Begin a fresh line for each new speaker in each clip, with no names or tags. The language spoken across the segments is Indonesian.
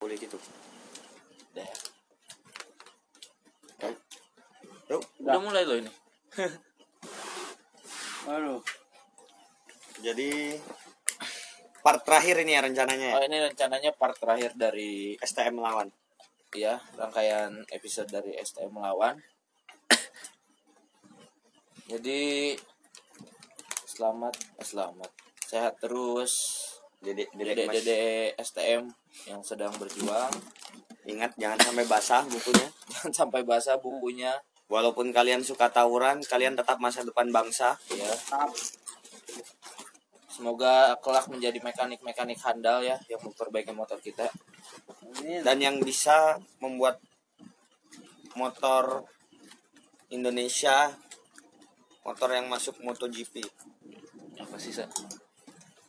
boleh gitu udah kan Bro,
Udah mulai loh ini.
Aduh.
jadi part terakhir ini ya rencananya ya?
Oh ini rencananya part terakhir dari
STM lawan
ya rangkaian episode dari STM melawan. Jadi selamat eh, selamat sehat terus
jadi jadi
dede-dede STM yang sedang berjuang
ingat jangan sampai basah bukunya
jangan sampai basah bukunya
walaupun kalian suka tawuran kalian tetap masa depan bangsa
ya semoga kelak menjadi mekanik-mekanik handal ya yang memperbaiki motor kita
Ini
dan yang bisa membuat motor Indonesia motor yang masuk MotoGP
apa sih Sa?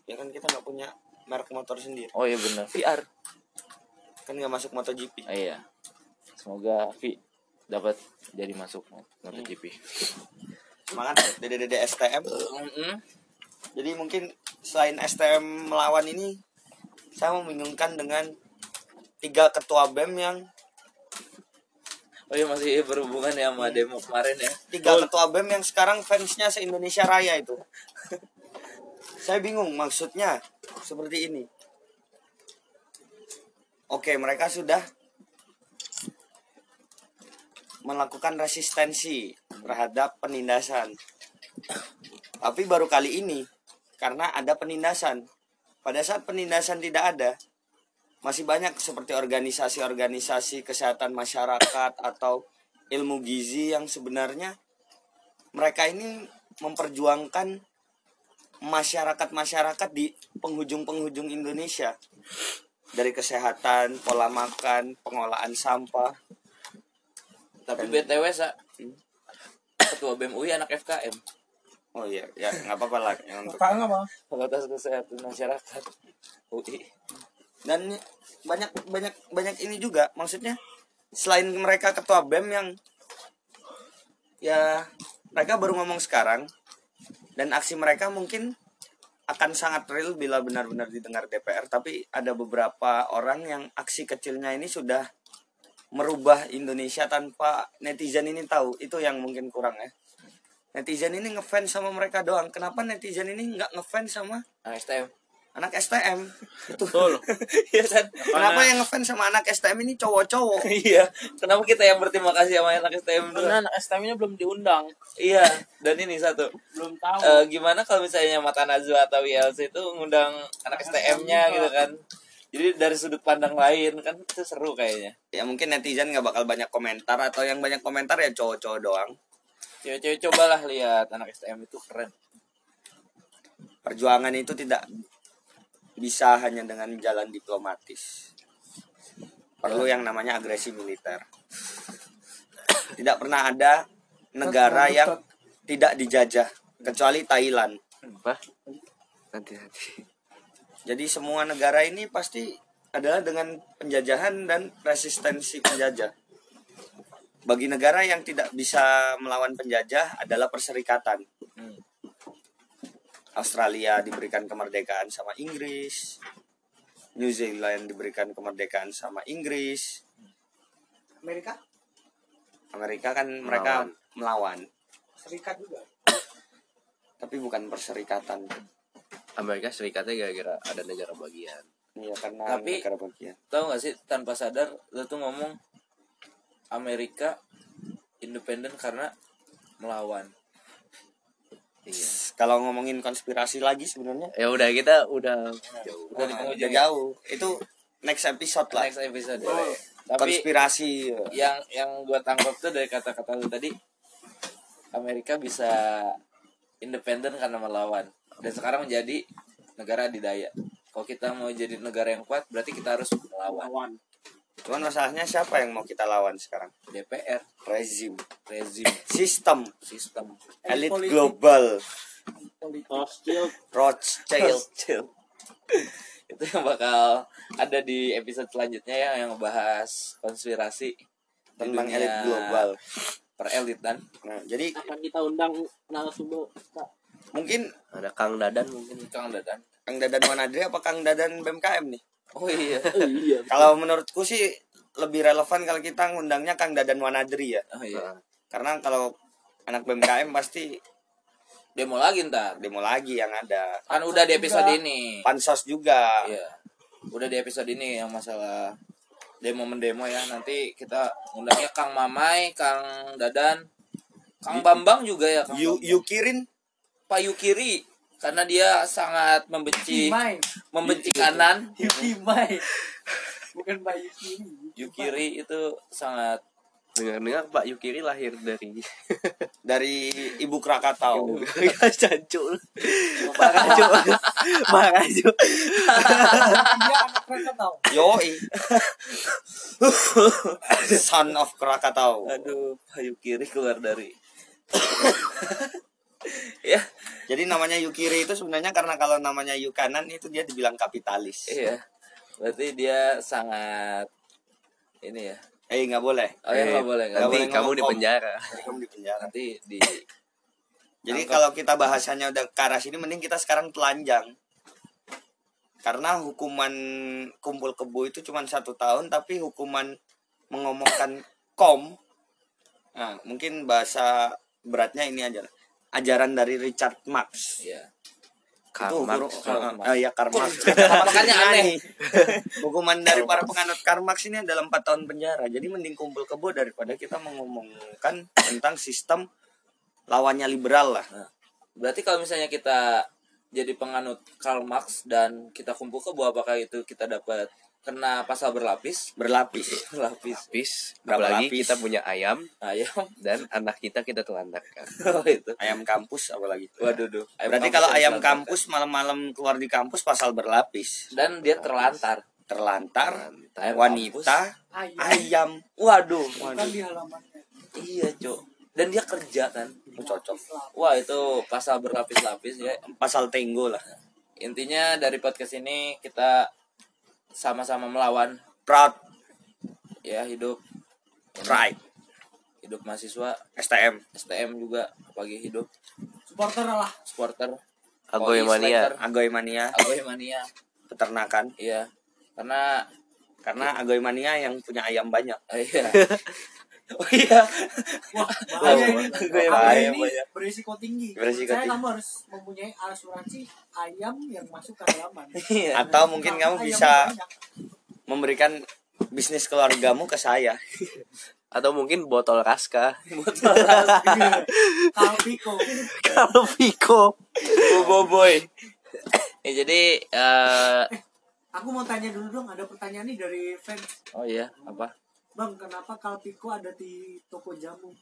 ya kan kita nggak punya merek motor sendiri
oh iya benar VR
kan nggak masuk MotoGP
Ah, iya. Semoga Vi dapat jadi masuk MotoGP.
semangat dede-dede STM
Mm-mm.
jadi mungkin selain STM melawan ini saya membingungkan dengan tiga ketua BEM yang
Oh iya masih berhubungan ya sama demo kemarin ya.
tiga ketua BEM yang sekarang fansnya se-Indonesia Raya itu. Saya bingung maksudnya seperti ini. Oke, mereka sudah melakukan resistensi terhadap penindasan. Tapi baru kali ini karena ada penindasan. Pada saat penindasan tidak ada, masih banyak seperti organisasi-organisasi kesehatan masyarakat atau ilmu gizi yang sebenarnya mereka ini memperjuangkan masyarakat-masyarakat di penghujung-penghujung Indonesia dari kesehatan, pola makan, pengolahan sampah.
Tapi BTW Sa Ketua BEM UI anak FKM
Oh iya, ya nggak apa-apa lah. yang untuk-
Kakak nggak, Bang?
Fakultas Kesehatan Masyarakat UI
Dan banyak banyak banyak ini juga maksudnya selain mereka ketua BEM yang ya mereka baru ngomong sekarang dan aksi mereka mungkin akan sangat real bila benar-benar didengar DPR tapi ada beberapa orang yang aksi kecilnya ini sudah merubah Indonesia tanpa netizen ini tahu itu yang mungkin kurang ya netizen ini ngefans sama mereka doang kenapa netizen ini nggak ngefans sama
Anak STM
anak STM
Betul Iya San
kenapa yang ngefans sama anak STM ini cowok-cowok
Iya Kenapa kita yang berterima kasih sama anak STM dulu
Karena anak STM-nya belum diundang,
Iya Dan ini satu
belum tahu.
Eh, Gimana kalau misalnya Mata Najwa atau ILC itu ngundang anak STM-nya gitu kan Jadi dari sudut pandang lain kan itu seru kayaknya
ya mungkin netizen nggak bakal banyak komentar atau yang banyak komentar ya cowok-cowok doang
Cewek-cewek cobalah lihat anak STM itu keren.
perjuangan itu tidak bisa hanya dengan jalan diplomatis perlu yang namanya agresi militer tidak pernah ada negara yang tidak dijajah kecuali Thailand
Hmm,
Apa? Nanti nanti.
jadi semua negara ini pasti adalah dengan penjajahan dan resistensi penjajah bagi negara yang tidak bisa melawan penjajah adalah perserikatan
Hmm.
Australia diberikan kemerdekaan sama Inggris, New Zealand diberikan kemerdekaan sama Inggris. Amerika? Amerika kan mereka melawan.
serikat juga.
tapi bukan perserikatan.
Amerika Serikatnya gara-gara ada negara bagian.
Iya karena
Tapi-
negara bagian.
Tahu nggak sih tanpa sadar lu tuh ngomong Amerika independen karena melawan.
Iya.
Kalau ngomongin konspirasi lagi sebenarnya
Ya udah kita udah jauh.
Udah di
nah,
penghujung
udah
ya?
jauh. Itu next episode lah.
Next episode. ya.
Oh.
Boleh.
Tapi
konspirasi.
yang yang gua tangkap tuh dari kata-kata lu tadi Amerika bisa independen karena melawan dan sekarang menjadi negara adidaya. Kalau kita mau jadi negara yang kuat berarti kita harus melawan
Lawan.
Cuman masalahnya siapa yang mau kita lawan sekarang?
DPR,
Rezim,
rezim,
sistem,
sistem.
elit
politik.
global,
Hostile.
Rothschild.
Chill. itu yang bakal ada di episode selanjutnya ya yang ngebahas konspirasi di
tentang
dunia
elit global.
perelitan
Nah, jadi
Akan kita undang narasumber. Kak.
mungkin
Ada Kang Dadan mungkin.
Kang Dadan
Kang Dadan Wanadri apa Kang Dadan BMKM nih?
Oh iya.
Eh, iya.
Kalau menurutku sih lebih relevan kalau kita ngundangnya Kang Dadan Wanadri ya.
Oh iya.
Karena kalau anak BMKM pasti
Demo lagi ntar.
demo lagi yang ada.
Kan udah di episode ini.
Pansos juga.
Iya. Udah di episode ini yang masalah demo mendemo ya. Nanti kita undangnya Kang Mamai, Kang Dadan, Kang Bambang juga ya. Kang
Yu, Yukirin
Pak Yukiri karena dia sangat membenci
Mai,
membenci kanan.
Yuki Mai. Bukan Mbak Yuki.
Yukiri itu sangat
Dengar-dengar Pak Yukiri lahir dari
dari Ibu Krakatau.
Cancul. Marah cu. Marah cu.
Iya, anak mereka tahu.
Yoi. Son of Krakatau.
aduh Pak Yukiri keluar dari ya
Jadi namanya Yukiri itu sebenarnya karena kalau namanya Yukanan itu dia dibilang kapitalis.
iya berarti dia sangat ini ya
Eh nggak boleh.
oh ya
Eh,
nggak boleh nggak
nggak
Nanti
boleh
boleh
kamu
ngomong
di
om.
penjara.
Kamu di penjara.
nanti di
Jadi
Tangkap.
kalau kita bahasannya udah ke arah sini mending kita sekarang telanjang. Karena hukuman kumpul kebo itu cuma satu tahun tapi hukuman mengomongkan kom nah, mungkin bahasa beratnya ini aja lah. ajaran dari Richard Marx
ya
itu
Karma.
hukum-
Karl
eh,
Marx.
eh, ya Karl Marx.
Makanya aneh.
hukuman dari para penganut Karl Marx ini adalah empat tahun penjara jadi mending kumpul kebo daripada kita mengomongkan tentang sistem lawannya liberal lah
berarti kalau misalnya kita jadi penganut Karl Marx dan kita kumpul ke buah apakah itu kita dapat kena pasal berlapis
berlapis
berlapis
Lapis.
Berapa
Apalagi
lapis?
kita punya ayam
ayam Oh,
dan anak kita kita telantarkan.
itu
ayam kampus apalagi
waduh duh Ayam
berarti
kampus
kalau
yang
ayam
selatan.
kampus malam-malam keluar di kampus pasal berlapis
dan dia terlantar
terlantar
Ayam
wanita ayam
Waduh,
Bukan Ah, iya. Kan di halamannya.
iya cok. Dan dia kerja kan.
Oh,
cocok
Wah itu pasal berlapis-lapis ya.
pasal tenggo lah
Intinya dari podcast ini kita sama-sama melawan
proud
ya hidup
pride
hidup mahasiswa
STM
STM juga apalagi hidup
Supporter lah.
supporter
Agoy
Koi,
mania.
striker,
agoimania
Agoy mania
peternakan
iya karena
karena agoimania yang punya ayam banyak
eh, iya oh iya
Wah, bahaya
Wah,
ini.
gue
Apa
bahaya,
ini
bahaya.
berisiko tinggi.
Berisiko
Saya
tinggi.
kamu harus mempunyai asuransi ayam yang masuk ke halaman.
iya
atau mungkin
Karena
kamu
ayamnya
bisa
banyak.
memberikan bisnis keluargamu ke saya
Atau mungkin botol raska.
Kalpiko.
Kalau Viko.
boboiboy ya jadi eh,
Aku mau tanya dulu dong, ada pertanyaan nih dari fans.
oh iya apa
Bang, kenapa Kalpiko ada di toko jamu?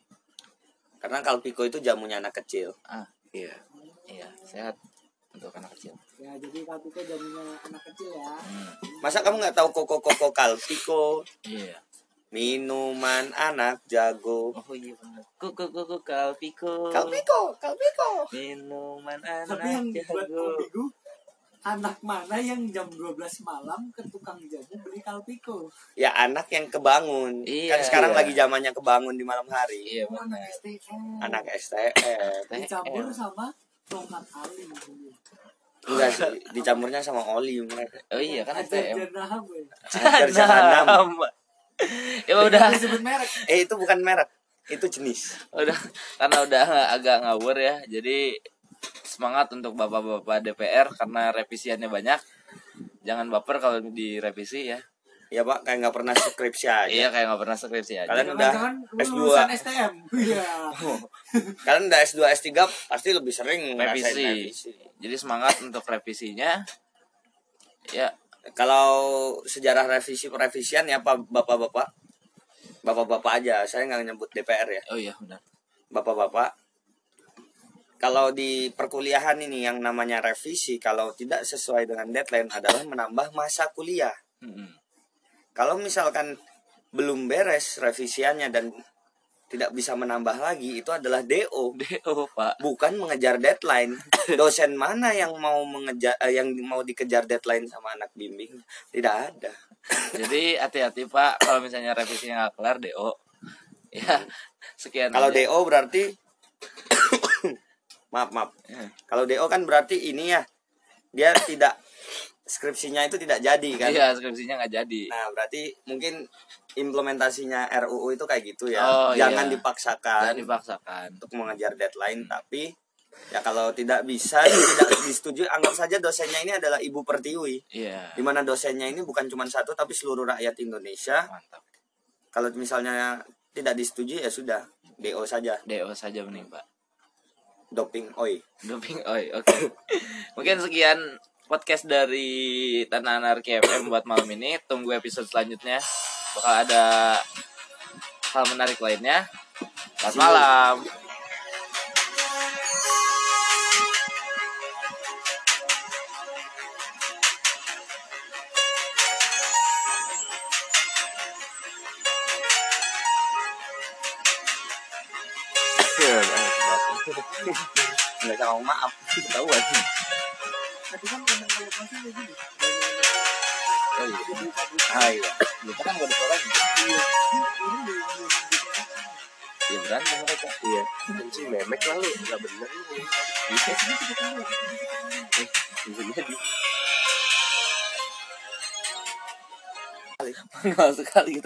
karena kalpiko itu jamunya anak kecil
ah
Iya.
iya sehat untuk anak kecil Hmm,
Ya, jadi Kalpiko jamunya anak kecil ya.
masa kamu nggak tahu koko koko kalpiko
iya
minuman anak jago
oh iya benar kuku kuku kalpiko
kalpiko kalpiko
minuman
Tapi yang
anak
buat
jago
ambigu, anak mana yang jam 12 malam ke tukang jamu beli Kalpiko?
ya anak yang kebangun
Iya,
kan sekarang
iya.
lagi zamannya kebangun di malam hari
iya
Itu
benar
anak STM.
anak STM
Dicampur sama tongkat alim.
enggak sih dicampurnya sama oli mereka
oh iya kan STM
Jenah gue.
Ajar
Nah.
jahanam.
ya udah
Jangan sebut merek.
eh itu bukan merek itu jenis
udah karena udah agak ngawur ya jadi semangat untuk bapak-bapak DPR karena revisiannya banyak jangan baper kalau direvisi ya
ya pak kayak nggak pernah skripsi aja
iya kayak nggak pernah skripsi aja
Kalian- udah
Jangan-jangan lu
S2.
lulusan STM. Iya.
kalian udah S2 S3 pasti lebih sering ngerasain
Revisi. jadi semangat untuk revisinya ya
kalau sejarah revisi perevisian ya pak bapak-bapak bapak-bapak aja saya nggak nyebut DPR ya
oh iya benar
bapak-bapak kalau di perkuliahan ini yang namanya revisi kalau tidak sesuai dengan deadline adalah menambah masa kuliah
Mm-mm.
kalau misalkan belum beres revisiannya dan tidak bisa menambah lagi itu adalah DO
do pak
bukan mengejar deadline dosen mana yang mau mengejar eh, yang mau dikejar deadline sama anak bimbing tidak ada
jadi hati-hati pak kalau misalnya revisinya nggak kelar do ya sekian
kalau
aja.
DO berarti maaf maaf
Ya.
kalau DO kan berarti ini ya dia tidak skripsinya itu tidak jadi kan
Iya, skripsinya nggak jadi.
nah berarti mungkin implementasinya RUU itu kayak gitu ya
Oh,
jangan
iya.
dipaksakan
Jangan dipaksakan.
untuk mengejar deadline tapi ya kalau tidak bisa tidak disetujui anggap saja dosennya ini adalah Ibu Pertiwi
Iya.
di mana dosennya ini bukan cuma satu tapi seluruh rakyat Indonesia
Mantap.
kalau misalnya tidak disetujui ya sudah DO saja
DO saja mending, Pak.
doping oi
Doping. Oi, oh iya, oke. Mungkin sekian podcast dari Tanah Anarki FM buat malam ini. Tunggu episode selanjutnya. Bakal ada hal menarik lainnya. Selamat malam.
nggak sama maaf
Ketahuan.
Tadi kan ngomong kalau masih kayak gini. Dibuka-buka.
ah, iya.
Kita kan gak ada suaranya.
Iya. Ini di- di- di-
Ya berantem mereka.
Iya. Kunci memek lalu nggak bener. Eh, Bisa jadi. gitu.
Enggak sekali